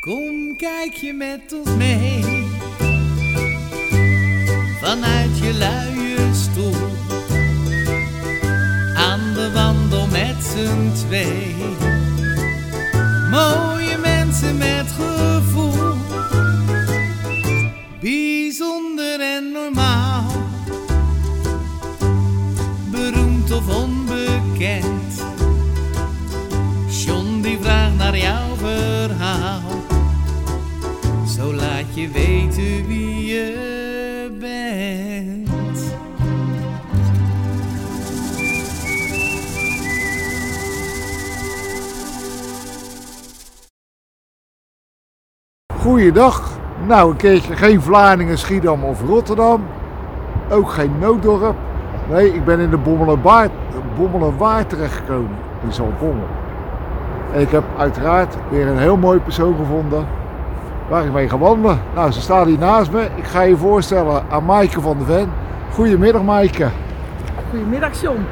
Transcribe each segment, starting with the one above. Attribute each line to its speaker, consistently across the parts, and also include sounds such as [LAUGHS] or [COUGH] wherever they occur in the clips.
Speaker 1: Kom, kijk je met ons mee. Vanuit je luie stoel. Aan de wandel met z'n twee. Mooie mensen met gevoel. Bijzonder en normaal. Beroemd of onbekend. John die vraagt naar jouw verhaal. Zo laat je weten wie je bent.
Speaker 2: Goeiedag. Nou, een keertje geen Vlaardingen, Schiedam of Rotterdam. Ook geen nooddorp. Nee, ik ben in de Bommelerwaard Bommelerwaar terechtgekomen. In Zaltbommel. En ik heb uiteraard weer een heel mooi persoon gevonden. Waar ik mee ga wandelen. Nou, ze staat hier naast me. Ik ga je voorstellen aan Maaike van de Ven. Goedemiddag Maaike.
Speaker 3: Goedemiddag John.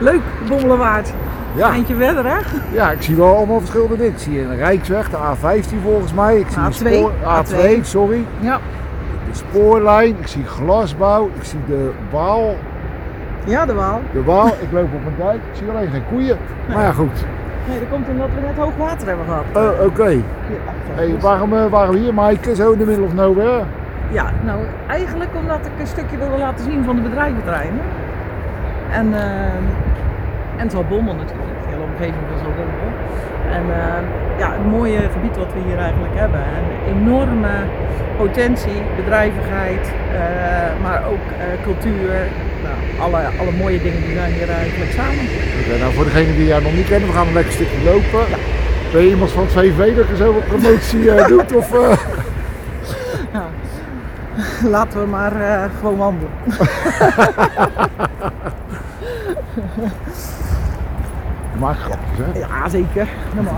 Speaker 3: Leuk, Bommelenwaard.
Speaker 2: Ja,
Speaker 3: Eindje verder hè?
Speaker 2: ja, ik zie wel allemaal verschillende dingen. Ik zie een Rijksweg, de A15 volgens mij. Ik zie een
Speaker 3: A2.
Speaker 2: spoor- A2,
Speaker 3: A2.
Speaker 2: sorry.
Speaker 3: Ja.
Speaker 2: De spoorlijn, ik zie glasbouw, ik zie de Waal.
Speaker 3: Ja, de Waal.
Speaker 2: De Waal, ik loop op een dijk, ik zie alleen geen koeien. Maar ja, goed.
Speaker 3: Nee, dat komt omdat we net hoog water hebben gehad.
Speaker 2: Eh, Oké.
Speaker 3: Ja,
Speaker 2: Hey, waarom eh, waren we hier, Maaike? Zo in the middle of nowhere?
Speaker 3: Ja, nou eigenlijk omdat ik een stukje wilde laten zien van de bedrijventerreinen. En, eh, en Zalbommel natuurlijk, de hele omgeving van Zalbommel. En eh, ja, het mooie gebied wat we hier eigenlijk hebben. En enorme potentie, bedrijvigheid, eh, maar ook eh, cultuur. Nou, alle, alle mooie dingen die zijn hier eigenlijk samen.
Speaker 2: Oké, nou, voor degenen die jou nog niet kennen, we gaan een lekker stukje lopen. Ben je iemand van het VV dat je zo wat promotie [LAUGHS] eh, doet? Of, eh?
Speaker 3: Nou, laten we maar eh, gewoon wandelen.
Speaker 2: Ik Maak grapjes, hè?
Speaker 3: Ja, zeker. Normaal.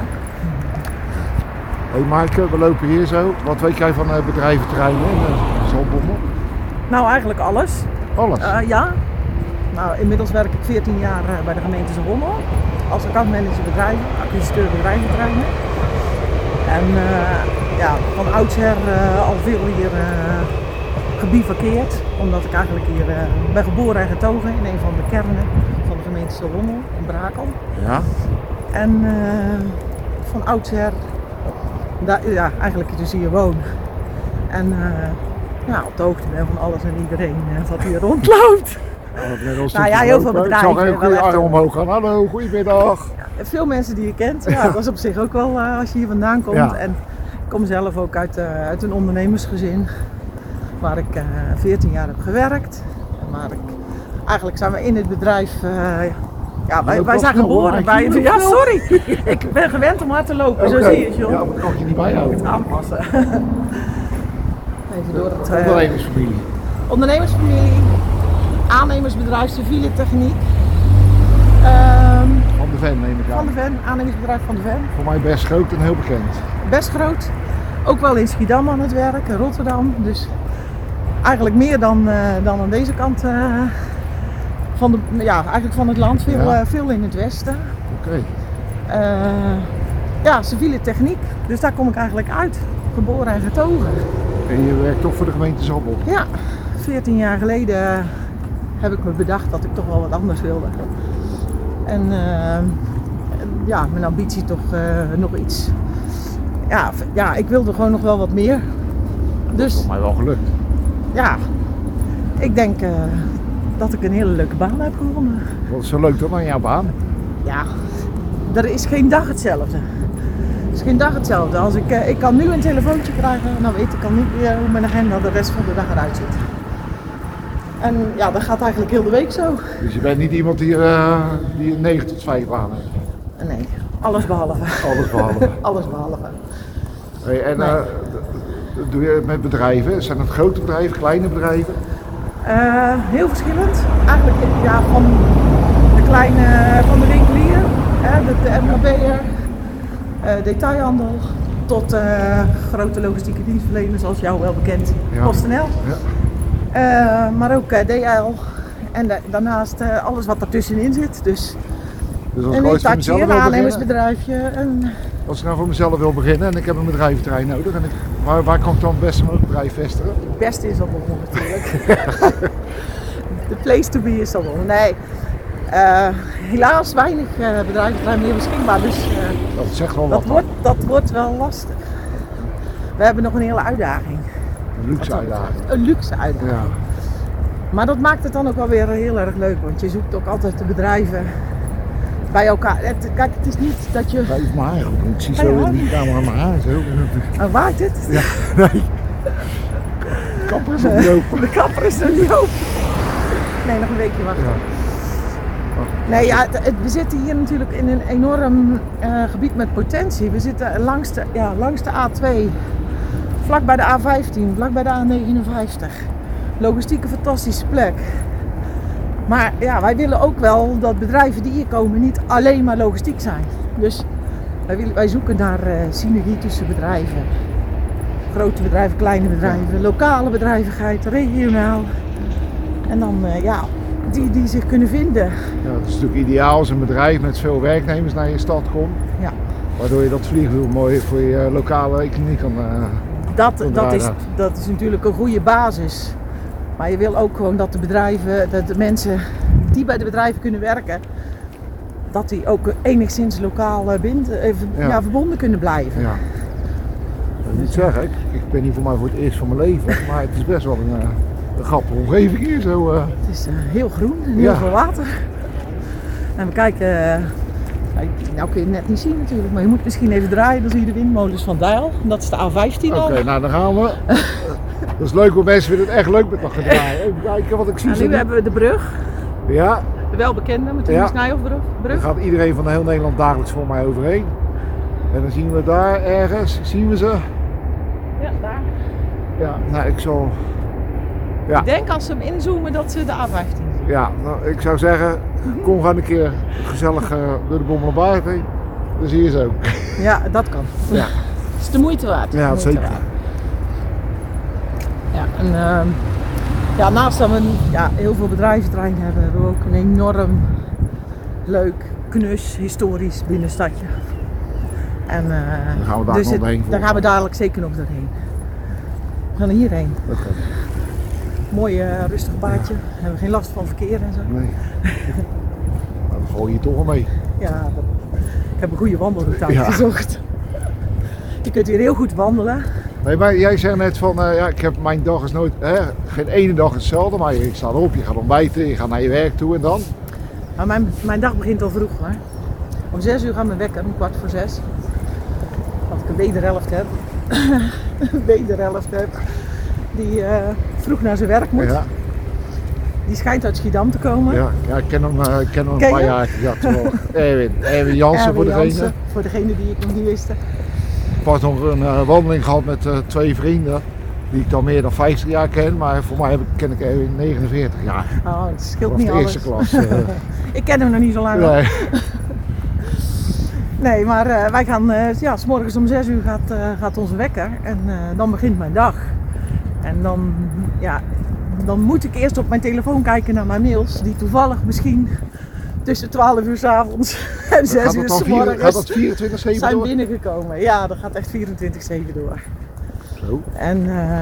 Speaker 2: Hey Maaike, we lopen hier zo. Wat weet jij van eh bedrijventerreinen in eh, Zaltbommel?
Speaker 3: Nou, eigenlijk alles.
Speaker 2: Alles.
Speaker 3: Eh, ja. Nou, inmiddels werk ik 14 jaar eh, bij de gemeente Zwolle als accountmanager bedrijven, acquisiteur bedrijventerreinen. En eh, ja, van oudsher eh, al veel hier eh gebivakkeerd, omdat ik eigenlijk hier eh, ben geboren en getogen in een van de kernen van de gemeente Zwolle in Brakel.
Speaker 2: Ja?
Speaker 3: En eh, van oudsher, da- ja, eigenlijk dus hier woon. En eh, ja, op de hoogte ben van alles en iedereen eh, wat hier [LAUGHS] rondloopt.
Speaker 2: Nou, dat ben ik al een
Speaker 3: Nou ja,
Speaker 2: stukje
Speaker 3: heel veel
Speaker 2: gelopen. Ik zag
Speaker 3: bedrijven
Speaker 2: een goede
Speaker 3: wel echt-
Speaker 2: arm omhoog gaan. Hallo, goedemiddag.
Speaker 3: Veel mensen die je kent, ja, dat is op zich ook wel eh, als je hier vandaan komt.
Speaker 2: Ja.
Speaker 3: En ik kom zelf ook uit, eh, uit een ondernemersgezin waar ik eh, 14 jaar heb gewerkt. En waar ik, eigenlijk zijn we in het bedrijf, eh, ja, wij,
Speaker 2: loopt wel
Speaker 3: wij zijn
Speaker 2: snel, hoor,
Speaker 3: geboren
Speaker 2: maar
Speaker 3: bij
Speaker 2: je [LAUGHS]
Speaker 3: het... Ja, sorry, ik ben gewend om hard te lopen,
Speaker 2: Oké.
Speaker 3: zo zie je het joh. Eh,
Speaker 2: Ja, maar dat kan ik je niet bijhouden.
Speaker 3: aanpassen. [LAUGHS] Even door het eh,
Speaker 2: Ondernemersfamilie.
Speaker 3: ondernemersfamilie, aannemersbedrijf civiele techniek. Ehm,
Speaker 2: Van de Ven neem ik
Speaker 3: van de
Speaker 2: aan.
Speaker 3: Ven, aannemersbedrijf van de Ven.
Speaker 2: Voor mij best groot en heel bekend.
Speaker 3: Best groot. Ook wel in Schiedam aan het werk, in Rotterdam. Dus eigenlijk meer dan, eh, dan aan deze kant eh, van, de, ja, eigenlijk van het land. Veel,
Speaker 2: Ja.
Speaker 3: eh, veel in het westen.
Speaker 2: Oké.
Speaker 3: Eh, ja, civiele techniek. Dus daar kom ik eigenlijk uit. Geboren en getogen.
Speaker 2: En je werkt toch voor de gemeente Zalbommel.
Speaker 3: Ja, 14 jaar geleden heb ik me bedacht dat ik toch wel wat anders wilde. En eh, ja, mijn ambitie toch eh, nog iets. Ja, v- ja, ik wilde gewoon nog wel wat meer. Dus
Speaker 2: Voor mij wel gelukt.
Speaker 3: ja, ik denk eh, dat ik een hele leuke baan heb gewonnen.
Speaker 2: Wat is zo leuk dan aan jouw baan?
Speaker 3: Ja, er is geen dag hetzelfde. Er is geen dag hetzelfde. Als ik, eh, ik kan nu een telefoontje krijgen, dan weet ik al niet meer hoe mijn agenda de rest van de dag eruit ziet. En ja, dat gaat eigenlijk heel de week zo.
Speaker 2: Dus je bent niet iemand die, eh, die een 9 tot 5 baan heeft.
Speaker 3: Nee, alles behalve.
Speaker 2: Alles behalve.
Speaker 3: Alles behalve.
Speaker 2: Hey, en eh, d- d- doe je het met bedrijven? Zijn het grote bedrijven, kleine bedrijven?
Speaker 3: Eh, heel verschillend. Eigenlijk ja, van de kleine, van de winkelier, hè, de, de MKB'er, eh, detailhandel, tot eh, grote logistieke dienstverleners zoals jou wel bekend,
Speaker 2: Ja.
Speaker 3: PostNL.
Speaker 2: Ja.
Speaker 3: Eh, maar ook eh, DL en da- daarnaast eh, alles wat ertussenin zit. Dus
Speaker 2: Dus als ik
Speaker 3: En ik
Speaker 2: ooit voor mezelf
Speaker 3: taxi,
Speaker 2: wil
Speaker 3: een
Speaker 2: beginnen,
Speaker 3: aannemersbedrijfje. En,
Speaker 2: als ik nou voor mezelf wil beginnen en ik heb een bedrijventerrein nodig, en ik, waar, waar kan ik dan best mijn bedrijf vestigen?
Speaker 3: het beste is dat nog
Speaker 2: [LAUGHS]
Speaker 3: natuurlijk. De place to be is dat nog. Nee, Eh, helaas weinig eh bedrijven meer beschikbaar. Dus eh,
Speaker 2: Dat zegt wel
Speaker 3: dat,
Speaker 2: wat.
Speaker 3: wordt, dat wordt wel lastig. We hebben nog een hele uitdaging.
Speaker 2: Een luxe
Speaker 3: Wat dat betreft.
Speaker 2: uitdaging.
Speaker 3: Een luxe uitdaging.
Speaker 2: Ja.
Speaker 3: Maar dat maakt het dan ook wel weer heel erg leuk, want je zoekt ook altijd de bedrijven bij elkaar. Het, kijk, het is niet dat je.
Speaker 2: Geef mijn haar goed. Ik zie zo
Speaker 3: Ja, ja.
Speaker 2: in die camera mijn haar. Zo.
Speaker 3: [LAUGHS] Ah, waait het?
Speaker 2: Nee. Kapper is op lopen.
Speaker 3: De kapper is er niet open. Nee, nog een weekje wachten.
Speaker 2: Ja.
Speaker 3: Nee, ja, het, het- we zitten hier natuurlijk in een enorm eh, gebied met potentie. We zitten langs de, ja, langs de A2, vlak bij de A15, vlak bij de A59. Logistiek een fantastische plek. Maar ja, wij willen ook wel dat bedrijven die hier komen niet alleen maar logistiek zijn. Dus wij, willen, wij zoeken naar eh, synergie tussen bedrijven. Grote bedrijven, kleine bedrijven, lokale bedrijvigheid, regionaal. En dan, eh, ja, die, die zich kunnen vinden.
Speaker 2: Ja, het is natuurlijk ideaal als een bedrijf met veel werknemers naar je stad komt.
Speaker 3: Ja.
Speaker 2: Waardoor je dat vliegwiel mooi voor je eh, lokale economie kan. eh,
Speaker 3: dat, dat, is,
Speaker 2: Inderdaad.
Speaker 3: dat is natuurlijk een goede basis. Maar je wil ook gewoon dat de bedrijven, dat de mensen die bij de bedrijven kunnen werken, dat die ook enigszins lokaal eh, bind, eh, ver-
Speaker 2: Ja.
Speaker 3: ja, verbonden kunnen blijven.
Speaker 2: ja. Dat moet ik zeggen, ik, ik ben hier voor mij voor het eerst van mijn leven. [LAUGHS] Maar het is best wel een, eh, een grappige omgeving hier. Zo, eh.
Speaker 3: Het is eh, heel groen en heel
Speaker 2: Ja.
Speaker 3: veel water. En we kijken, eh, nou, nou kun je het net niet zien natuurlijk, maar je moet misschien even draaien, dan zie je de windmolens van Dijl. En Dat is de A15
Speaker 2: Oké,
Speaker 3: al.
Speaker 2: nou dan gaan we. Dat is leuk, want mensen vinden het echt leuk met dat gedraai. Even kijken wat ik zie.
Speaker 3: En
Speaker 2: zo
Speaker 3: Nou, nu
Speaker 2: niet.
Speaker 3: hebben we de brug,
Speaker 2: Ja,
Speaker 3: de welbekende
Speaker 2: Ja.
Speaker 3: Martinus Nijhoffbrug.
Speaker 2: daar gaat iedereen van heel Nederland dagelijks voor mij overheen. En dan zien we daar ergens, zien we ze.
Speaker 3: Ja, daar.
Speaker 2: Ja, nou ik zal Ja.
Speaker 3: Ik denk als ze hem inzoomen dat ze de A15 zien.
Speaker 2: Ja, nou, ik zou zeggen, kom gaan een keer gezellig eh, door de Bommelerbaard heen. Dan zie je ze [LAUGHS] ook.
Speaker 3: Ja, dat kan.
Speaker 2: Ja.
Speaker 3: Het is de moeite waard.
Speaker 2: Ja,
Speaker 3: De moeite
Speaker 2: zeker.
Speaker 3: waard. Ja, en, ehm, ja, naast dat we ja, heel veel bedrijventerrein hebben, hebben we ook een enorm leuk, knus, historisch binnenstadje. En, eh,
Speaker 2: Daar gaan we daar nog
Speaker 3: het-
Speaker 2: doorheen, volgens
Speaker 3: Daar gaan we dadelijk zeker nog doorheen. We gaan er hierheen.
Speaker 2: Oké.
Speaker 3: Mooi eh, rustig paadje. Hebben we geen last van verkeer en zo.
Speaker 2: Nee. Nou, dan gooi je toch wel mee.
Speaker 3: Ja, dat- ik heb een goede wandelroute
Speaker 2: Ja.
Speaker 3: uitgezocht. Je kunt hier heel goed wandelen.
Speaker 2: Nee, maar jij zegt net van, eh, ja, ik heb mijn dag is nooit, hè, geen ene dag is hetzelfde, maar je staat op, je gaat ontbijten, je gaat naar je werk toe en dan.
Speaker 3: Maar mijn, mijn dag begint al vroeg hoor. Om zes uur gaan we wekken, om kwart voor zes. Dat ik een wederhelft heb. [LAUGHS] een wederhelft heb. Die eh, vroeg naar zijn werk moet.
Speaker 2: Ja,
Speaker 3: Die schijnt uit Schiedam te komen.
Speaker 2: ja, ja, ik ken hem, eh, ik ken hem
Speaker 3: Ken
Speaker 2: een paar
Speaker 3: je?
Speaker 2: jaar. Ja, toevallig. Erwin,
Speaker 3: [LAUGHS]
Speaker 2: Erwin Jansen
Speaker 3: Erwin
Speaker 2: voor degene.
Speaker 3: Jansen, voor degene die ik nog niet wist.
Speaker 2: pas nog een eh, wandeling gehad met eh, twee vrienden. Die ik dan meer dan 50 jaar ken, maar voor mij heb ik, ken ik Erwin 49 jaar.
Speaker 3: Oh, het
Speaker 2: Dat
Speaker 3: scheelt
Speaker 2: was
Speaker 3: niet
Speaker 2: de
Speaker 3: alles.
Speaker 2: eerste klas.
Speaker 3: [LAUGHS]
Speaker 2: eh.
Speaker 3: Ik ken hem nog niet zo lang. hoor.
Speaker 2: nee.
Speaker 3: Nee, maar eh, wij gaan, eh ja, s morgens om 6 uur gaat, eh, gaat onze wekker en eh, dan begint mijn dag. En dan, ja, dan moet ik eerst op mijn telefoon kijken naar mijn mails, die toevallig misschien tussen 12 uur 's avonds [LAUGHS] en 6
Speaker 2: Gaat
Speaker 3: uur
Speaker 2: dat
Speaker 3: s
Speaker 2: dan vier- gaat dat
Speaker 3: morgens
Speaker 2: 24-7
Speaker 3: zijn
Speaker 2: door?
Speaker 3: binnengekomen. Ja, dat gaat echt 24-7 door.
Speaker 2: Zo.
Speaker 3: En eh,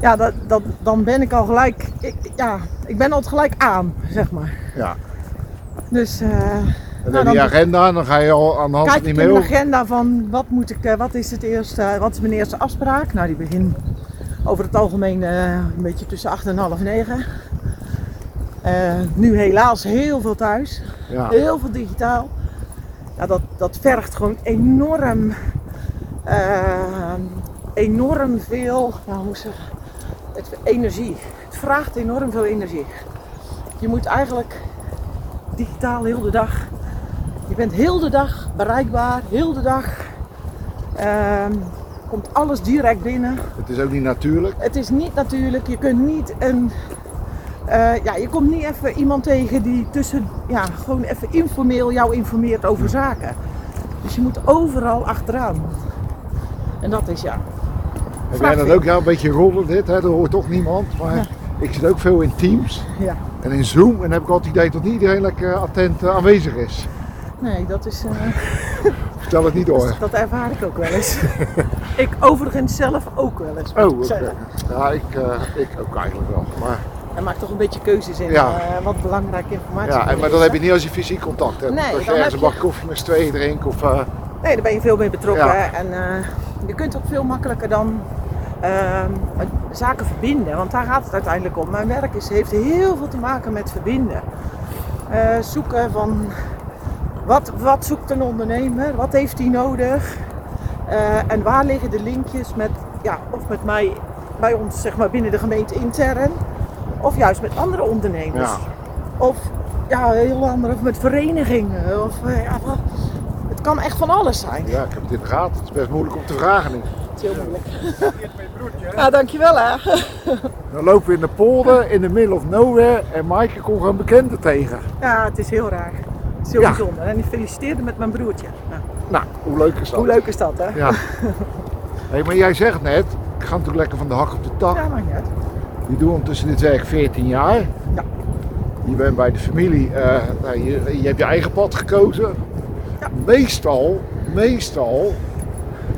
Speaker 3: ja, dat, dat, dan ben ik al gelijk, ik, ja, ik ben altijd gelijk aan, zeg maar.
Speaker 2: Ja.
Speaker 3: Dus... eh,
Speaker 2: En dan, die
Speaker 3: Nou, dan-
Speaker 2: agenda, en dan ga je al aan de hand
Speaker 3: Kijk
Speaker 2: van die
Speaker 3: ik in de
Speaker 2: mail.
Speaker 3: agenda van wat moet ik, eh, wat is het eerste, wat is mijn eerste afspraak? Nou, die begin over het algemeen eh, een beetje tussen 8 en half 9. Eh, nu helaas heel veel thuis,
Speaker 2: Ja.
Speaker 3: heel veel digitaal. Ja, dat, dat vergt gewoon enorm, eh, enorm veel, nou, hoe moet ik zeggen, het, energie. Het vraagt enorm veel energie. Je moet eigenlijk digitaal heel de dag. Je bent heel de dag bereikbaar, heel de dag. ehm, komt alles direct binnen.
Speaker 2: Het is ook niet natuurlijk.
Speaker 3: Het is niet natuurlijk. Je kunt niet een. eh, ja, je komt niet even iemand tegen die tussen. Ja, gewoon even informeel jou informeert over zaken. Dus je moet overal achteraan. En dat is ja.
Speaker 2: Heb jij dat
Speaker 3: veel.
Speaker 2: ook? Ja, een beetje rollen dit, hè? dat hoort toch niemand. Maar ik zit ook veel in teams.
Speaker 3: Ja.
Speaker 2: En in Zoom en heb ik altijd het idee dat niet iedereen lekker attent eh, aanwezig is.
Speaker 3: Nee, dat is. eh,
Speaker 2: Vertel het niet
Speaker 3: dat,
Speaker 2: hoor.
Speaker 3: dat ervaar ik ook wel eens. [LAUGHS] ik overigens zelf ook wel eens. moet
Speaker 2: Oh,
Speaker 3: ik
Speaker 2: oké.
Speaker 3: zeggen.
Speaker 2: Ja, ik, eh, ik ook eigenlijk wel. Maar,
Speaker 3: En maak toch een beetje keuzes in
Speaker 2: Ja.
Speaker 3: eh, wat belangrijke informatie
Speaker 2: ja, en,
Speaker 3: voor
Speaker 2: maar
Speaker 3: je
Speaker 2: dat
Speaker 3: is,
Speaker 2: heb je niet als je fysiek contact hebt.
Speaker 3: Nee,
Speaker 2: als je
Speaker 3: dan
Speaker 2: ergens een
Speaker 3: heb
Speaker 2: bak koffie met z'n tweeën drinkt of... eh,
Speaker 3: Nee, daar ben je veel meer betrokken.
Speaker 2: Ja.
Speaker 3: En eh, je kunt ook veel makkelijker dan ehm, zaken verbinden. Want daar gaat het uiteindelijk om. Mijn werk is, heeft heel veel te maken met verbinden. Eh, zoeken van wat, wat zoekt een ondernemer? Wat heeft hij nodig? Eh, en waar liggen de linkjes met, ja, of met mij, bij ons zeg maar binnen de gemeente intern. Of juist met andere ondernemers.
Speaker 2: Ja.
Speaker 3: Of ja, heel andere, of met verenigingen. Of, eh, ja, wat- het kan echt van alles zijn.
Speaker 2: ja, ik heb het in de gaten. Het is best moeilijk om te vragen nu.
Speaker 3: Het is heel moeilijk. [LAUGHS] Ja, Ah, dankjewel hè.
Speaker 2: Dan lopen we in de polder, in the middle of nowhere en Maaike komt gewoon bekende tegen.
Speaker 3: Ja, het is heel raar. Het is heel
Speaker 2: Ja.
Speaker 3: bijzonder. En ik feliciteerde met mijn broertje. Nou,
Speaker 2: Nou, hoe leuk is dat?
Speaker 3: hoe leuk is dat hè?
Speaker 2: Ja. Hey, maar jij zegt net, ik ga natuurlijk lekker van de hak op de tak.
Speaker 3: Ja, maakt niet uit.
Speaker 2: Je doet ondertussen dit werk 14 jaar.
Speaker 3: Ja.
Speaker 2: Je bent bij de familie, eh, nou, je, je hebt je eigen pad gekozen.
Speaker 3: Ja.
Speaker 2: Meestal, meestal,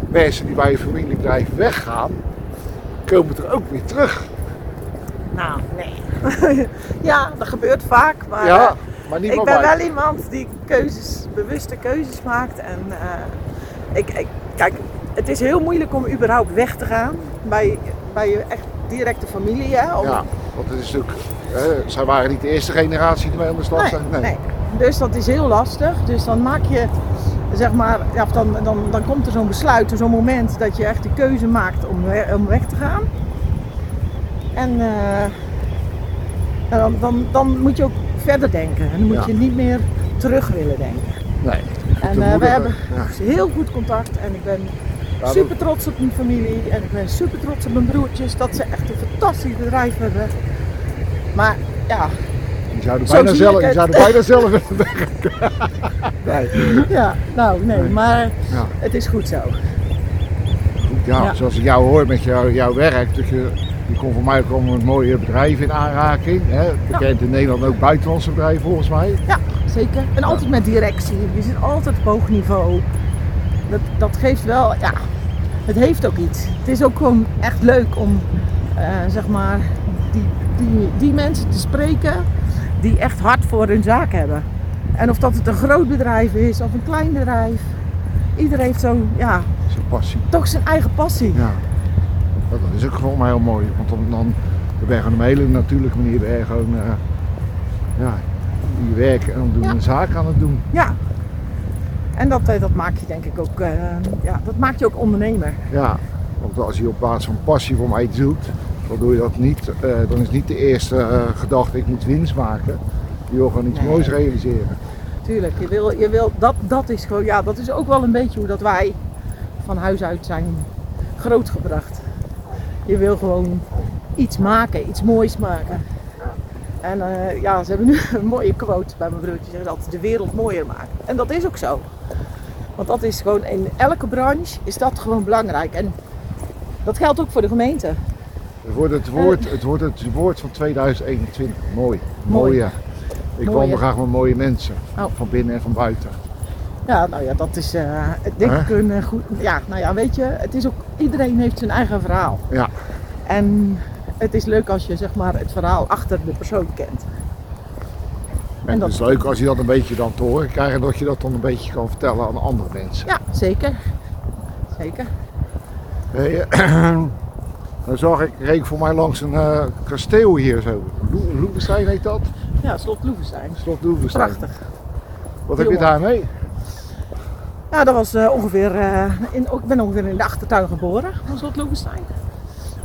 Speaker 2: mensen die bij je familiebedrijf weggaan, komen er ook weer terug.
Speaker 3: Nou, nee. ja, dat gebeurt vaak. Maar
Speaker 2: ja,
Speaker 3: eh,
Speaker 2: maar niet
Speaker 3: ik
Speaker 2: van
Speaker 3: ben
Speaker 2: mij.
Speaker 3: wel iemand die keuzes, bewuste keuzes maakt. En eh, ik, ik, kijk, het is heel moeilijk om überhaupt weg te gaan bij, bij je echt directe familie. Hè? Om-
Speaker 2: Ja, want het is natuurlijk, eh, zij waren niet de eerste generatie die mee aan de slag zijn.
Speaker 3: Nee, nee. Dus dat is heel lastig. Dus dan maak je, zeg maar, ja, of dan, dan, dan komt er zo'n besluit, zo'n moment dat je echt de keuze maakt om, we- om weg te gaan. En eh, ja, dan, dan, dan moet je ook verder denken. En dan moet
Speaker 2: Ja.
Speaker 3: je niet meer terug willen denken.
Speaker 2: Nee.
Speaker 3: En eh, we hebben heel goed contact en ik ben
Speaker 2: Ja, dat-
Speaker 3: super trots op mijn familie en ik ben super trots op mijn broertjes dat ze echt een fantastisch bedrijf hebben. Maar ja,
Speaker 2: Je zou er
Speaker 3: Zo
Speaker 2: bijna
Speaker 3: zie ik
Speaker 2: zelf, je
Speaker 3: het.
Speaker 2: zou er bijna zelf willen werken. Nee,
Speaker 3: ja nou nee, maar
Speaker 2: Ja.
Speaker 3: het is goed zo.
Speaker 2: goed, ja,
Speaker 3: Ja.
Speaker 2: zoals ik jou hoor met jou, jouw werk, dat je, je komt voor mij komen met mooie bedrijven in aanraking. Hè? Bekend in Nederland ook buitenlandse bedrijven volgens mij.
Speaker 3: Ja, zeker. En altijd met directie. Je zit altijd op hoog niveau. Dat, dat geeft wel, ja, het heeft ook iets. Het is ook gewoon echt leuk om, eh, zeg maar, die, die, die mensen te spreken die echt hard voor hun zaak hebben. En of dat het een groot bedrijf is of een klein bedrijf. Iedereen heeft zo, ja,
Speaker 2: Zijn passie.
Speaker 3: toch zijn eigen passie.
Speaker 2: Ja. Dat is ook gewoon maar heel mooi. Want dan, dan dan ben je gewoon op een hele natuurlijke manier ben je gewoon eh, ja, je werk aan het doen
Speaker 3: Ja.
Speaker 2: en zaken aan het doen.
Speaker 3: Ja. En dat, eh, dat maakt je denk ik ook, eh, ja, dat maakt je ook ondernemer.
Speaker 2: Ja, want als je op basis van passie voor mij iets doet, dan doe je dat niet. eh, dan is niet de eerste eh, gedachte, ik moet winst maken. Je wil gewoon iets
Speaker 3: Nee.
Speaker 2: moois realiseren.
Speaker 3: Tuurlijk, je wil, je wil, dat, dat is gewoon, ja, dat is ook wel een beetje hoe dat wij van huis uit zijn grootgebracht. Je wil gewoon iets maken, iets moois maken. En eh, ja, ze hebben nu [LAUGHS] een mooie quote bij mijn broertje, ze zeggen altijd de wereld mooier maken. En dat is ook zo. Want dat is gewoon, in elke branche is dat gewoon belangrijk. En dat geldt ook voor de gemeente.
Speaker 2: Het wordt het woord, het wordt het woord van 2021. Mooi.
Speaker 3: Mooi.
Speaker 2: Mooie. Ik
Speaker 3: Mooie.
Speaker 2: wandel graag met mooie mensen.
Speaker 3: Oh.
Speaker 2: Van binnen en van buiten.
Speaker 3: Ja, nou ja, dat is eh, denk ik een eh, goed. Ja, nou ja, weet je, het is ook, iedereen heeft zijn eigen verhaal.
Speaker 2: Ja.
Speaker 3: En het is leuk als je zeg maar het verhaal achter de persoon kent.
Speaker 2: En
Speaker 3: dat-
Speaker 2: het is leuk als je dat een beetje dan te horen krijgt en dat je dat dan een beetje kan vertellen aan andere mensen.
Speaker 3: Ja, zeker. Zeker.
Speaker 2: Hey, eh, [CLEARS THROAT] dan zag ik, reed ik voor mij langs een eh, kasteel hier zo. Loe- Loevestein heet dat?
Speaker 3: Ja, slot Loevestein.
Speaker 2: Slot Loevestein.
Speaker 3: Prachtig.
Speaker 2: Wat heb je
Speaker 3: Jongen.
Speaker 2: daarmee?
Speaker 3: Ja, dat was eh, ongeveer. eh, in, ik ben ongeveer in de achtertuin geboren van slot Loevestein.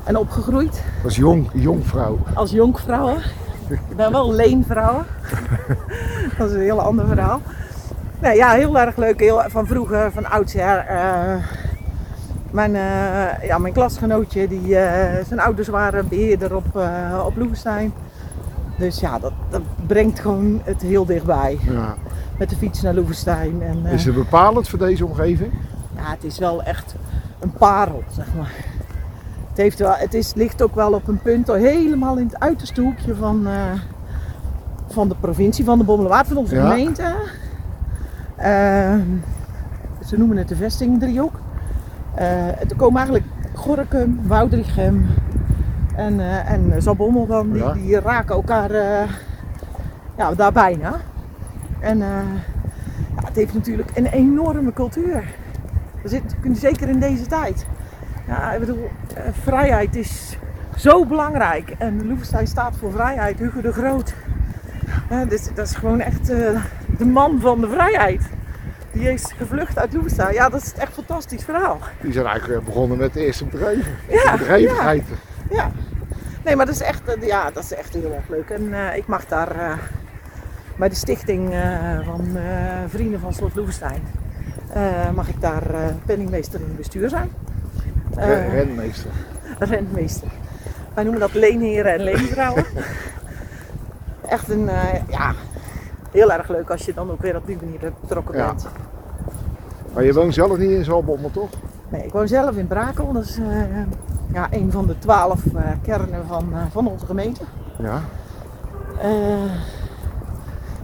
Speaker 3: En opgegroeid
Speaker 2: Dat is jong, jongvrouw.
Speaker 3: als jonkvrouw. Ik ben wel leenvrouw. dat is een heel ander verhaal. Nee, ja, heel erg leuk. Heel, van vroeger, van oudsher. eh, mijn, eh, ja, mijn klasgenootje, die, eh, zijn ouders waren beheerder op, eh op Loevestein. Dus ja, dat, dat brengt gewoon het heel dichtbij.
Speaker 2: Ja.
Speaker 3: Met de fiets naar Loevestein. En, eh,
Speaker 2: Is het bepalend voor deze omgeving?
Speaker 3: ja, het is wel echt een parel, zeg maar. Het, heeft wel, het is, ligt ook wel op een punt, al helemaal in het uiterste hoekje van, eh, van de provincie, van de Bommelerwaard, van onze
Speaker 2: Ja.
Speaker 3: gemeente. Ehm, ze noemen het de vestingdriehoek. Eh er komen eigenlijk Gorkum, Woudrichem en, eh, en Zalbommel dan, die,
Speaker 2: Ja.
Speaker 3: die raken elkaar eh, ja, daar bijna. En eh, ja, het heeft natuurlijk een enorme cultuur. We zitten, zeker in deze tijd. Ja, ik bedoel, eh, vrijheid is zo belangrijk. En Loevestein staat voor vrijheid, Hugo de Groot. Ja, dus, dat is gewoon echt eh, de man van de vrijheid. Die is gevlucht uit Loevestein. Ja, dat is echt een fantastisch verhaal.
Speaker 2: Die zijn eigenlijk weer begonnen met de eerste bedrijven.
Speaker 3: Ja, ja,
Speaker 2: Bedrijvigheid.
Speaker 3: ja. Nee, maar dat is echt, eh, ja, dat is echt heel erg leuk. En eh, ik mag daar eh, bij de stichting eh, van eh, Vrienden van Slot Loevestein... eh, mag ik daar eh, penningmeester in het bestuur zijn.
Speaker 2: Ren-
Speaker 3: Eh,
Speaker 2: Renmeester.
Speaker 3: rentmeester. Wij noemen dat leenheren en leenvrouwen. Echt een, eh, ja, heel erg leuk als je dan ook weer op die manier betrokken
Speaker 2: Ja.
Speaker 3: bent.
Speaker 2: Maar je woont zelf niet in Zalbommel, toch?
Speaker 3: Nee, ik woon zelf in Brakel, dat is eh, ja, een van de twaalf kernen van, eh, van onze gemeente.
Speaker 2: Ja.
Speaker 3: Eh,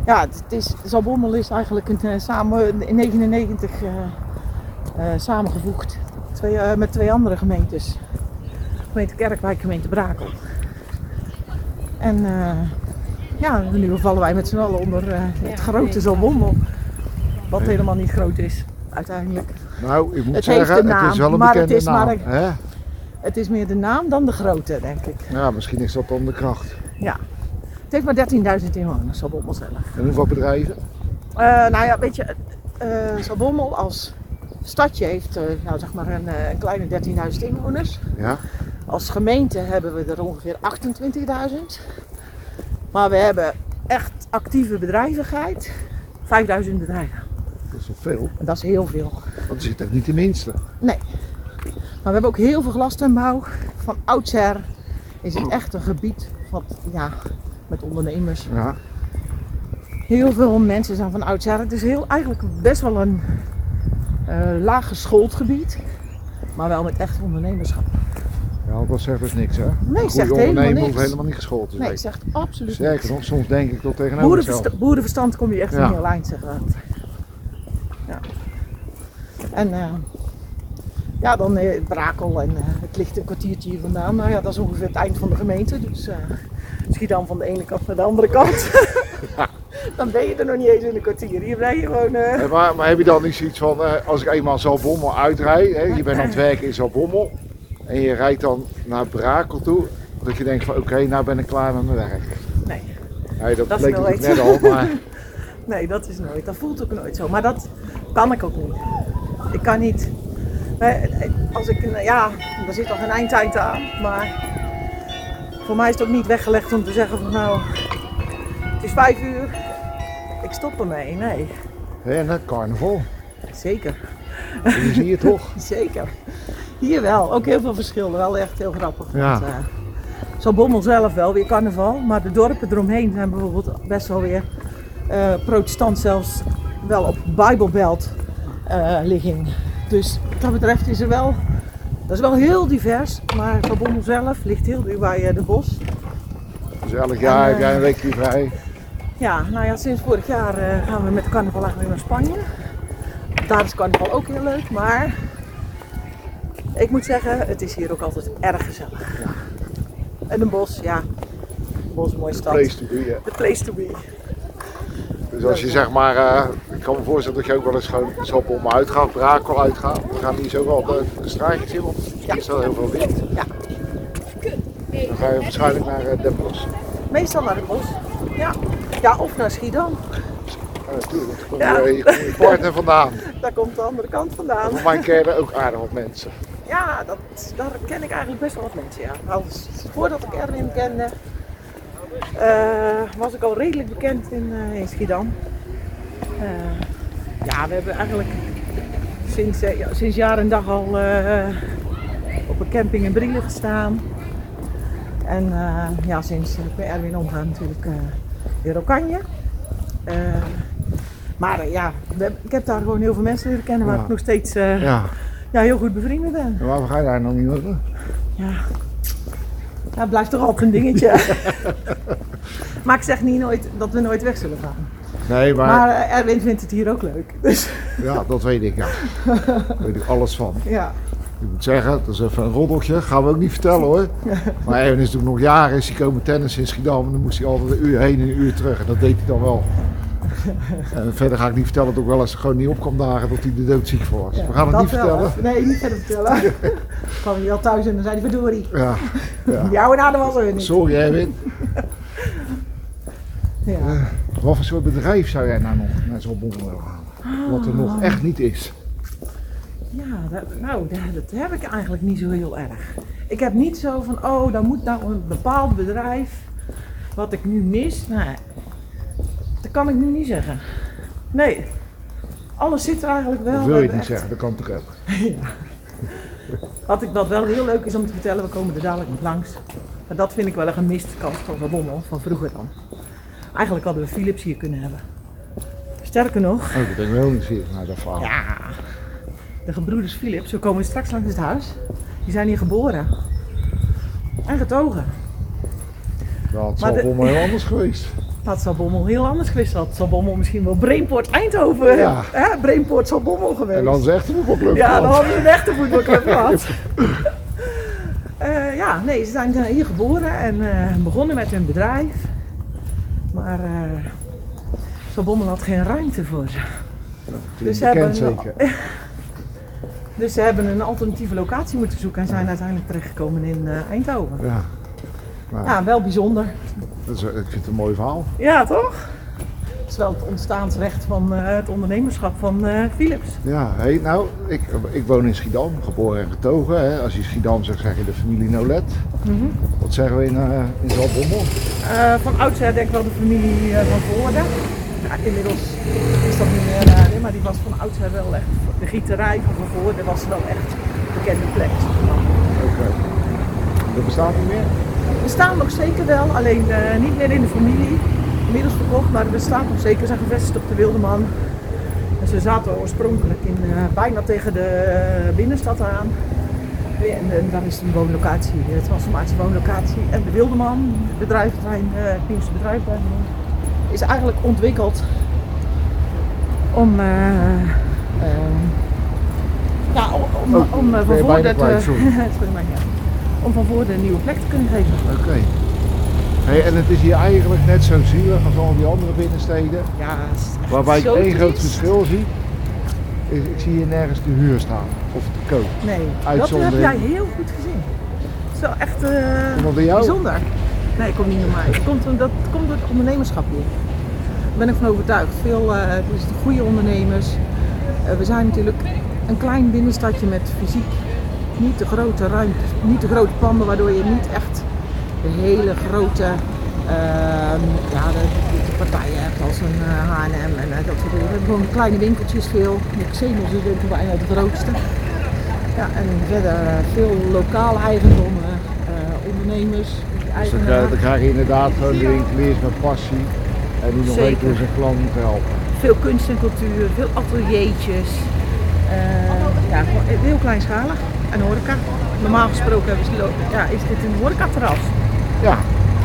Speaker 3: ja, het, het is, Zalbommel is eigenlijk een, eh, samen, in 1999 eh, eh, samengevoegd twee, eh, met twee andere gemeentes. Gemeente Kerkwijk, gemeente Brakel. En eh, ja, nu vallen wij met z'n allen onder eh, het grote Zalbommel. Wat helemaal niet groot is, uiteindelijk.
Speaker 2: Nou, ik moet
Speaker 3: Het heeft
Speaker 2: zeggen,
Speaker 3: een
Speaker 2: het is wel
Speaker 3: naam,
Speaker 2: een
Speaker 3: maar
Speaker 2: bekende
Speaker 3: het is
Speaker 2: naam.
Speaker 3: maar een-
Speaker 2: hè?
Speaker 3: Het is meer de naam dan de grootte, denk ik.
Speaker 2: Ja, misschien is dat dan de kracht.
Speaker 3: Ja. Het heeft maar 13.000 inwoners, Zalbommel zelf.
Speaker 2: En hoeveel bedrijven?
Speaker 3: Eh, nou ja, weet je, eh Zalbommel als stadje heeft eh, nou, zeg maar een, eh, een kleine 13.000 inwoners.
Speaker 2: Ja.
Speaker 3: Als gemeente hebben we er ongeveer 28.000. Maar we hebben echt actieve bedrijvigheid. 5.000 bedrijven.
Speaker 2: Dat is toch veel?
Speaker 3: En dat is heel veel.
Speaker 2: Want er zit er niet de minste.
Speaker 3: Maar we hebben ook heel veel glastuinbouw. Van oudsher is het echt een gebied wat, ja, met ondernemers.
Speaker 2: Ja.
Speaker 3: Heel veel mensen zijn van oudsher. Het is heel, eigenlijk best wel een eh laag geschoold gebied. Maar wel met echt ondernemerschap.
Speaker 2: Ja, want dat zegt dus niks, hè? Een
Speaker 3: Nee,
Speaker 2: goede
Speaker 3: zegt
Speaker 2: ondernemer
Speaker 3: helemaal niks.
Speaker 2: hoeft helemaal niet geschoold te
Speaker 3: Nee,
Speaker 2: zijn.
Speaker 3: ik zeg het absoluut
Speaker 2: Sterker
Speaker 3: niks.
Speaker 2: nog, soms denk ik dat tegenover mezelf.
Speaker 3: Boerenverstand, boerenverstand kom je echt
Speaker 2: Ja.
Speaker 3: in heel eind, zeggen we altijd. Ja. En eh, ja, dan eh, Brakel en eh, het ligt een kwartiertje hier vandaan. Nou ja, dat is ongeveer het eind van de gemeente. Dus eh Schiedam van de ene kant naar de andere
Speaker 2: [LAUGHS]
Speaker 3: kant. dan ben je er nog niet eens in een kwartier. Hier ben je gewoon... eh,
Speaker 2: Hey, maar, maar heb je dan niet zoiets van, eh, als ik eenmaal Zalbommel uitrij, hè, je bent aan het werken in Zalbommel en je rijdt dan naar Brakel toe, dat je denkt van oké, nou ben ik klaar met mijn werk.
Speaker 3: Nee.
Speaker 2: Hey, dat,
Speaker 3: Dat is
Speaker 2: bleek
Speaker 3: wel
Speaker 2: natuurlijk
Speaker 3: iets.
Speaker 2: net al,
Speaker 3: [LAUGHS]
Speaker 2: maar
Speaker 3: Nee, dat is nooit. Dat voelt ook nooit zo. Maar dat kan ik ook niet. Ik kan niet. eh, eh, Als ik, een- ja, er zit nog een eindtijd aan. Maar voor mij is het ook niet weggelegd om te zeggen van nou, het is vijf uur. Ik stop ermee. Nee,
Speaker 2: hè, en dan carnaval,
Speaker 3: zeker.
Speaker 2: die zie je toch.
Speaker 3: [LAUGHS] Zeker. Hier wel. Ook heel veel verschillen. Wel echt heel grappig.
Speaker 2: Ja.
Speaker 3: Want, eh, zo Bommel zelf wel weer carnaval. Maar de dorpen eromheen zijn bijvoorbeeld best wel weer eh, protestant zelfs wel op Bijbelbelt eh, ligging. Dus wat dat betreft is er wel... Dat is wel heel divers. Maar Zo Bommel zelf ligt heel dicht bij eh, de bos.
Speaker 2: Dus elk jaar
Speaker 3: En,
Speaker 2: heb jij een
Speaker 3: eh,
Speaker 2: weekje vrij.
Speaker 3: Ja, nou ja, sinds vorig jaar eh, gaan we met carnaval eigenlijk weer naar Spanje. Daar is carnaval ook heel leuk, maar ik moet zeggen, het is hier ook altijd erg gezellig. En een bos, ja. Een bos, mooie stad.
Speaker 2: Place to be, hè.
Speaker 3: The place to be.
Speaker 2: Dus als je zeg maar, eh, ik kan me voorstellen dat je ook wel eens gewoon Zalbommel uitgaat, Brakel uitgaat, dan gaan die zo wel eh, de, de straatjes in, want er is wel heel veel wind.
Speaker 3: Ja.
Speaker 2: Dan ga je waarschijnlijk naar eh, Den Bosch.
Speaker 3: Meestal naar het bos. Ja. ja, of naar Schiedam.
Speaker 2: Ja, natuurlijk. Daar komt
Speaker 3: Ja.
Speaker 2: je- je komt je partner vandaan.
Speaker 3: Daar komt de andere kant vandaan.
Speaker 2: Voor mij kennen ook aardig wat mensen.
Speaker 3: Ja, dat, daar ken ik eigenlijk best wel wat mensen. Ja. Als, voordat ik Erwin kende, eh, was ik al redelijk bekend in, eh, in Schiedam. Eh, ja, we hebben eigenlijk sinds, eh, ja, sinds jaar en dag al eh, op een camping in Brielen gestaan. En eh, ja, sinds ik bij Erwin omgaan natuurlijk eh, weer Oranje. Eh, maar eh, ja, we hebben- ik heb daar gewoon heel veel mensen leren kennen waar
Speaker 2: Ja.
Speaker 3: ik nog steeds eh, ja, heel goed bevriend mee ben.
Speaker 2: En waarom ga je daar nou niet naartoe?
Speaker 3: Ja. Dat blijft toch altijd een
Speaker 2: [LAUGHS]
Speaker 3: dingetje. maar ik zeg niet nooit dat we nooit weg zullen gaan.
Speaker 2: Nee, maar,
Speaker 3: Maar eh, Erwin vindt het hier ook leuk. [LAUGHS] Dus
Speaker 2: ja, dat weet ik ja. Daar weet ik alles van.
Speaker 3: ja,
Speaker 2: Ik moet zeggen, dat is even een roddeltje. Gaan we ook niet vertellen
Speaker 3: [LAUGHS]
Speaker 2: hoor. Maar Erwin is natuurlijk nog jaren is hij komen tennis in Schiedam. En dan moest hij altijd een uur heen en een uur terug. En dat deed hij dan
Speaker 3: [LAUGHS]
Speaker 2: wel. En verder ga ik niet vertellen dat ik wel eens gewoon niet op kwam dagen dat hij er doodziek voor was.
Speaker 3: ja,
Speaker 2: we gaan het
Speaker 3: dat
Speaker 2: niet
Speaker 3: wel.
Speaker 2: vertellen.
Speaker 3: Nee, niet verder vertellen.
Speaker 2: [LAUGHS]
Speaker 3: Dan kwam hij wel thuis en dan zei hij, verdorie,
Speaker 2: Ja, ja.
Speaker 3: jouw en haar was er niet.
Speaker 2: Sorry Erwin.
Speaker 3: Ja.
Speaker 2: Wat voor soort bedrijf zou jij nou nog naar zo'n bom willen halen? Wat er
Speaker 3: Ah.
Speaker 2: nog echt niet is.
Speaker 3: Ja, dat, nou, dat, dat heb ik eigenlijk niet zo heel erg. Ik heb niet zo van, oh, dan moet nou een bepaald bedrijf wat ik nu mis. Nee, dat kan ik nu niet zeggen. Nee, alles zit er eigenlijk wel.
Speaker 2: Dat
Speaker 3: We
Speaker 2: wil je
Speaker 3: hebben
Speaker 2: niet
Speaker 3: echt-
Speaker 2: zeggen, dat kan toch ook.
Speaker 3: Wat, ik, wat wel heel leuk is om te vertellen, we komen er dadelijk nog langs. Maar dat vind ik wel een gemiste kans van Van Bommel, van vroeger dan. Eigenlijk hadden we Philips hier kunnen hebben. Sterker nog,
Speaker 2: Oh, ik ben wel nieuwsgierig naar dat verhaal.
Speaker 3: Ja. De gebroeders Philips, we komen straks langs het huis. Die zijn hier geboren. En getogen.
Speaker 2: Ja, het
Speaker 3: Maar
Speaker 2: zal
Speaker 3: de-
Speaker 2: voor mij heel anders
Speaker 3: [LAUGHS]
Speaker 2: geweest.
Speaker 3: Dat zal Bommel heel anders geweest had. Zal Bommel misschien wel Brainport Eindhoven.
Speaker 2: Ja.
Speaker 3: Hè? Brainport zal Bommel geweest.
Speaker 2: En dan zegt hij nog wel leuk.
Speaker 3: Ja, dan
Speaker 2: plan.
Speaker 3: hadden we een echte
Speaker 2: [LAUGHS]
Speaker 3: voetbalclub gehad. Eh, ja, nee, ze zijn eh, hier geboren en eh, begonnen met hun bedrijf. Maar eh Van Bommel had geen ruimte voor ze.
Speaker 2: Klinkt
Speaker 3: ze hebben
Speaker 2: bekend
Speaker 3: een-
Speaker 2: zeker.
Speaker 3: Dus ze hebben een alternatieve locatie moeten zoeken en zijn uiteindelijk terechtgekomen in eh, Eindhoven.
Speaker 2: Ja. Maar
Speaker 3: Ja, wel bijzonder.
Speaker 2: dat is, eh, ik vind het een mooi verhaal.
Speaker 3: Ja, toch? Het is wel het ontstaansrecht van eh, het ondernemerschap van eh, Philips.
Speaker 2: Ja, hey, nou, ik, ik woon in Schiedam, geboren en getogen. Hè. Als je Schiedam zegt, zeg je de familie Nolet.
Speaker 3: Mhm.
Speaker 2: Wat zeggen we in, eh in Zaltbommel?
Speaker 3: Eh, van oudsher denk ik wel de familie eh, van Voorde. Ja, inmiddels is dat niet meer, eh, nee, maar die was van oudsher wel echt. De gieterij van Van Voorde was wel echt een bekende plek.
Speaker 2: Oké. Dat bestaat niet meer?
Speaker 3: We staan nog zeker wel, alleen eh, niet meer in de familie. Inmiddels verkocht, maar we staan nog zeker. We zijn gevestigd op de Wildeman. En ze zaten oorspronkelijk in, eh, bijna tegen de eh, binnenstad aan. En, eh, daar is een woonlocatie, eh, transformatiewoonlocatie. En de Wildeman, het bedrijventerrein, eh, het nieuwste bedrijventerrein, is eigenlijk ontwikkeld om, eh, eh, ja, om, om,
Speaker 2: Oh,
Speaker 3: om, eh,
Speaker 2: ben
Speaker 3: van
Speaker 2: je bijna
Speaker 3: voren te,
Speaker 2: kwijt,
Speaker 3: [LAUGHS]
Speaker 2: sorry.
Speaker 3: Het spijt mij, ja. om van voren een nieuwe plek te kunnen geven.
Speaker 2: Oké. Hey, en het is hier eigenlijk net zo zielig als al die andere binnensteden.
Speaker 3: Ja, het is echt
Speaker 2: Waarbij ik
Speaker 3: zo
Speaker 2: één groot
Speaker 3: triest.
Speaker 2: verschil zie. is ik zie hier nergens te huur staan of te koop.
Speaker 3: Nee, dat heb
Speaker 2: Uitzondering.
Speaker 3: jij heel goed gezien. Het is wel echt eh,
Speaker 2: Komt dat door jou?
Speaker 3: bijzonder. Nee, het komt niet door mij. Het komt, door- dat komt door het ondernemerschap hier. Daar ben ik van overtuigd. Veel eh, het is de goede ondernemers. Eh, we zijn natuurlijk een klein binnenstadje met fysiek niet de grote ruimte, niet de grote panden, waardoor je niet echt de hele grote ehm, ja, de, de- de partijen hebt als een eh, H&M en eh, dat soort dingen. We hebben Gewoon kleine winkeltjes veel. De Xenos is ook bijna de grootste. Ja, en verder eh, veel lokaal eigendom, eh, eh, ondernemers,
Speaker 2: Dus dan,
Speaker 3: eigenaar.
Speaker 2: krijg- dan krijg je inderdaad gewoon de winkeliers met passie. En die nog
Speaker 3: Zeker.
Speaker 2: weten hoe ze hun klant moeten helpen.
Speaker 3: Veel kunst en cultuur, veel ateliertjes. Eh, ja, gewoon heel kleinschalig. En horeca. Normaal gesproken hebben ze hier ook- ja, is dit een horecaterras.
Speaker 2: Ja.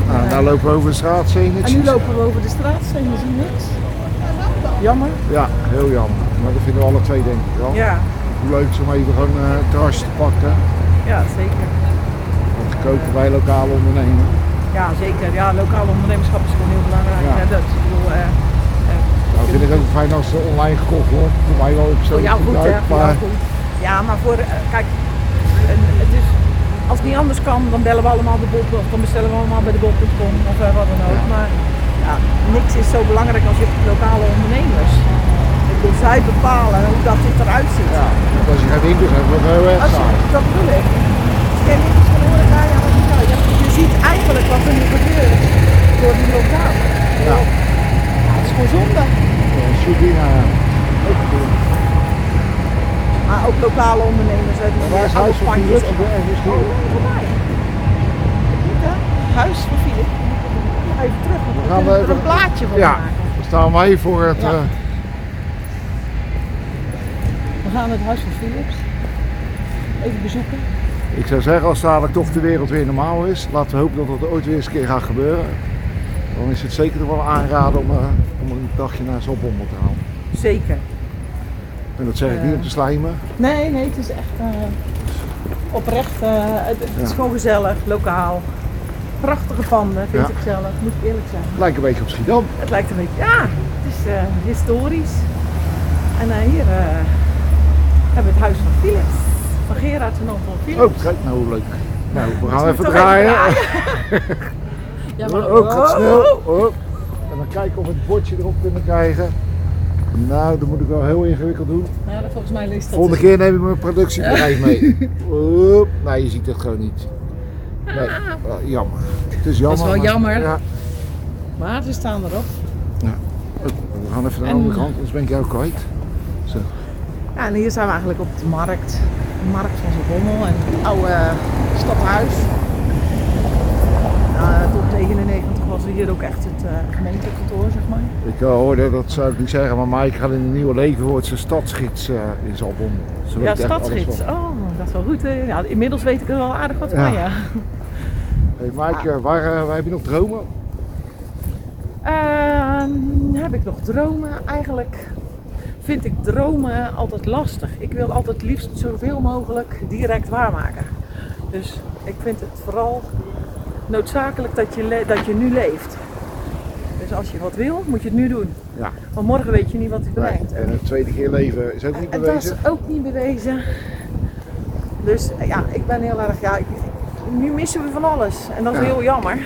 Speaker 2: Nou, nou lopen we over de straat, zie je niks.
Speaker 3: En nu lopen we over de straat, zijn we zien niks. Jammer.
Speaker 2: Ja, heel jammer. Maar dat vinden we alle twee denk ik wel.
Speaker 3: Ja,
Speaker 2: Hoe leuk is om even gewoon eh, een terrasje te pakken.
Speaker 3: ja zeker.
Speaker 2: Want dat kopen wij lokale ondernemen.
Speaker 3: Ja, zeker. Ja, lokaal ondernemerschap is gewoon heel belangrijk.
Speaker 2: Ja.
Speaker 3: Ja. Dat, ik bedoel, eh, eh,
Speaker 2: Nou vind ik ook fijn als ze online gekocht wordt. Voor mij wel op
Speaker 3: Voor
Speaker 2: zo'n
Speaker 3: jou goed, hè?
Speaker 2: gebruik,
Speaker 3: Voor jou
Speaker 2: maar-
Speaker 3: goed. Ja, maar voor, eh, kijk, een- het is, als het niet anders kan, dan bellen we allemaal de bol, dan bestellen we allemaal bij de bol.com of eh, wat dan ook.
Speaker 2: Ja.
Speaker 3: Maar ja, niks is zo belangrijk als je lokale ondernemers. Ik bedoel, zij bepalen hoe dat dit eruit ziet.
Speaker 2: Ja, want als je geen winkels hebt, wordt het heel erg
Speaker 3: Als je,
Speaker 2: saai.
Speaker 3: dat bedoel ik. Als je niks van horen, ga je aan elkaar. Je, je ziet eigenlijk wat er nu gebeurt door die lockdown.
Speaker 2: Ja,
Speaker 3: Ja, het is gewoon zonde.
Speaker 2: en Sudina. Ook goed.
Speaker 3: Maar ook lokale ondernemers uit
Speaker 2: En Waar is huis van Philips? Op de ergens
Speaker 3: Oh,
Speaker 2: hier.
Speaker 3: voorbij. Niet, hè? Huis van Filip. Even terug, want we
Speaker 2: gaan
Speaker 3: kunnen
Speaker 2: we
Speaker 3: er een
Speaker 2: even-
Speaker 3: plaatje van
Speaker 2: Ja,
Speaker 3: maken.
Speaker 2: daar staan wij voor het...
Speaker 3: Ja.
Speaker 2: eh,
Speaker 3: We gaan het huis van Philips even bezoeken.
Speaker 2: Ik zou zeggen, als dadelijk toch de wereld weer normaal is, laten we hopen dat dat ooit weer eens een keer gaat gebeuren. Dan is het zeker wel aanraden om, eh, om een dagje naar zo'n bommel te halen.
Speaker 3: Zeker.
Speaker 2: En dat zeg ik niet om te slijmen.
Speaker 3: Nee, nee, het is echt eh, oprecht. eh, het het is
Speaker 2: Ja.
Speaker 3: gewoon gezellig, lokaal. Prachtige panden, vind
Speaker 2: Ja.
Speaker 3: ik zelf, moet ik eerlijk zeggen.
Speaker 2: Het lijkt een beetje op Schiedam.
Speaker 3: Het lijkt een beetje, ja, het is eh, historisch. En eh, hier eh, hebben we het huis van Philips. Van Gerard en Anton Philips.
Speaker 2: Oh, kijk nou hoe leuk. Nou, we gaan
Speaker 3: moet
Speaker 2: even
Speaker 3: toch
Speaker 2: draaien.
Speaker 3: Ja,
Speaker 2: Oh, oh, gaat snel.
Speaker 3: oh, oh.
Speaker 2: Oh. En dan kijken of we het bordje erop kunnen krijgen. Nou, dat moet ik wel heel ingewikkeld doen.
Speaker 3: Nou, dat- volgens mij leest dat
Speaker 2: Volgende
Speaker 3: dus-
Speaker 2: keer neem ik mijn
Speaker 3: [LAUGHS]
Speaker 2: productiebedrijf mee. Oep, nee, je ziet het gewoon niet. Nee, eh, jammer. Het is jammer.
Speaker 3: Ah. Dat
Speaker 2: maar-
Speaker 3: is wel jammer.
Speaker 2: Ja.
Speaker 3: Maar ze staan erop.
Speaker 2: Oh, we gaan even naar de
Speaker 3: En-
Speaker 2: andere kant, anders ben ik jou kwijt.
Speaker 3: Ja, en hier zijn we eigenlijk op de markt. De markt van Zalbommel en het oude eh, stadhuis. Nou, tot 99 was hier ook echt het eh, gemeentekantoor, zeg maar.
Speaker 2: Ik eh, hoorde, dat zou ik niet zeggen, maar Mike gaat in een nieuwe leven wordt zijn stadsgids eh, in Zalbon. Ze
Speaker 3: ja,
Speaker 2: weet echt alles
Speaker 3: stadsgids.
Speaker 2: van.
Speaker 3: Oh, dat is wel goed. hè. Ja, inmiddels weet ik er wel aardig wat
Speaker 2: Ja.
Speaker 3: van, ja.
Speaker 2: Hey Mike, eh, waar, eh, waar heb je nog dromen?
Speaker 3: Ehm, heb ik nog dromen? Eigenlijk vind ik dromen altijd lastig. Ik wil altijd liefst zoveel mogelijk direct waarmaken. Dus ik vind het vooral noodzakelijk dat je, le- dat je nu leeft. Dus als je wat wil, moet je het nu doen.
Speaker 2: Ja.
Speaker 3: Want morgen weet je niet wat hij brengt.
Speaker 2: En het tweede keer leven is ook niet
Speaker 3: En dat is
Speaker 2: bewezen.
Speaker 3: ook niet bewezen. Dus eh, ja, ik ben heel erg. Ja, ik- nu missen we van alles. En dat is
Speaker 2: Ja.
Speaker 3: heel jammer.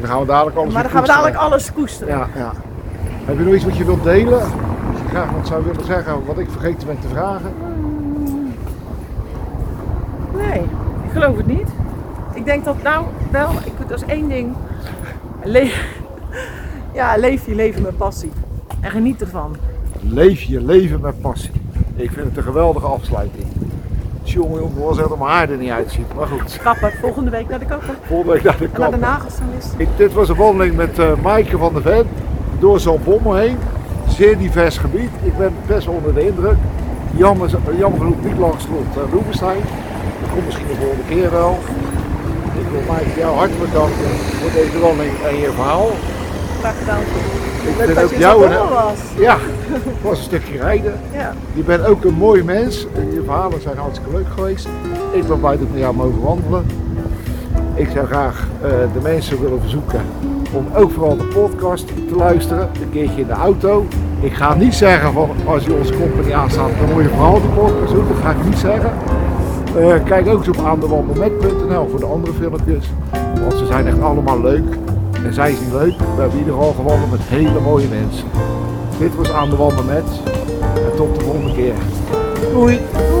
Speaker 2: Dan gaan we dadelijk alles
Speaker 3: maar
Speaker 2: weer
Speaker 3: dan gaan we dadelijk
Speaker 2: koesteren.
Speaker 3: alles koesteren.
Speaker 2: Ja, ja. Heb je nog iets wat je wilt delen? Als je graag wat zou willen zeggen, wat ik vergeten ben te vragen.
Speaker 3: Mm. Nee, ik geloof het niet. Ik denk dat nou wel, ik, dat is één ding. Le- [LAUGHS] ja, leef je leven met passie. En geniet ervan.
Speaker 2: Leef je leven met passie. Ik vind het een geweldige afsluiting. Tjonge jongen, was dat mijn haar er niet uitziet. Maar goed,
Speaker 3: Kapper, volgende week naar de kapper.
Speaker 2: volgende week naar de
Speaker 3: En naar de
Speaker 2: kant.
Speaker 3: nagelsalist.
Speaker 2: Ik, dit was een wandeling met eh Maaike van der Ven door Zalbommel heen. Zeer divers gebied. Ik ben best onder de indruk. Jammer, jammer genoeg niet langs rond uh, Roepenstein. Dat komt misschien de volgende keer wel. Ik wil Maaike jou hartelijk danken voor deze wandeling en je verhaal.
Speaker 3: Graag gedaan.
Speaker 2: Ik
Speaker 3: Leuk
Speaker 2: ben
Speaker 3: dat
Speaker 2: ook
Speaker 3: je
Speaker 2: jou
Speaker 3: zo
Speaker 2: een-
Speaker 3: dol was.
Speaker 2: Ja, het was een stukje rijden.
Speaker 3: Ja.
Speaker 2: Je bent ook een mooi mens. En je verhalen zijn hartstikke leuk geweest. Ik ben blij dat ik met jou mogen wandelen. Ik zou graag eh, de mensen willen verzoeken om ook vooral de podcast te luisteren. Een keertje in de auto. Ik ga niet zeggen van als je onze company aanstaat, dan moet je vooral de podcast zoeken. Dat ga ik niet zeggen. Eh, kijk ook eens op aandewandelmet.nl voor de andere filmpjes. Want ze zijn echt allemaal leuk. En zij zijn leuk. We hebben in ieder geval gewandeld met hele mooie mensen. Dit was Aan de Wandel Met. En tot de volgende keer. Doei!
Speaker 3: Doei.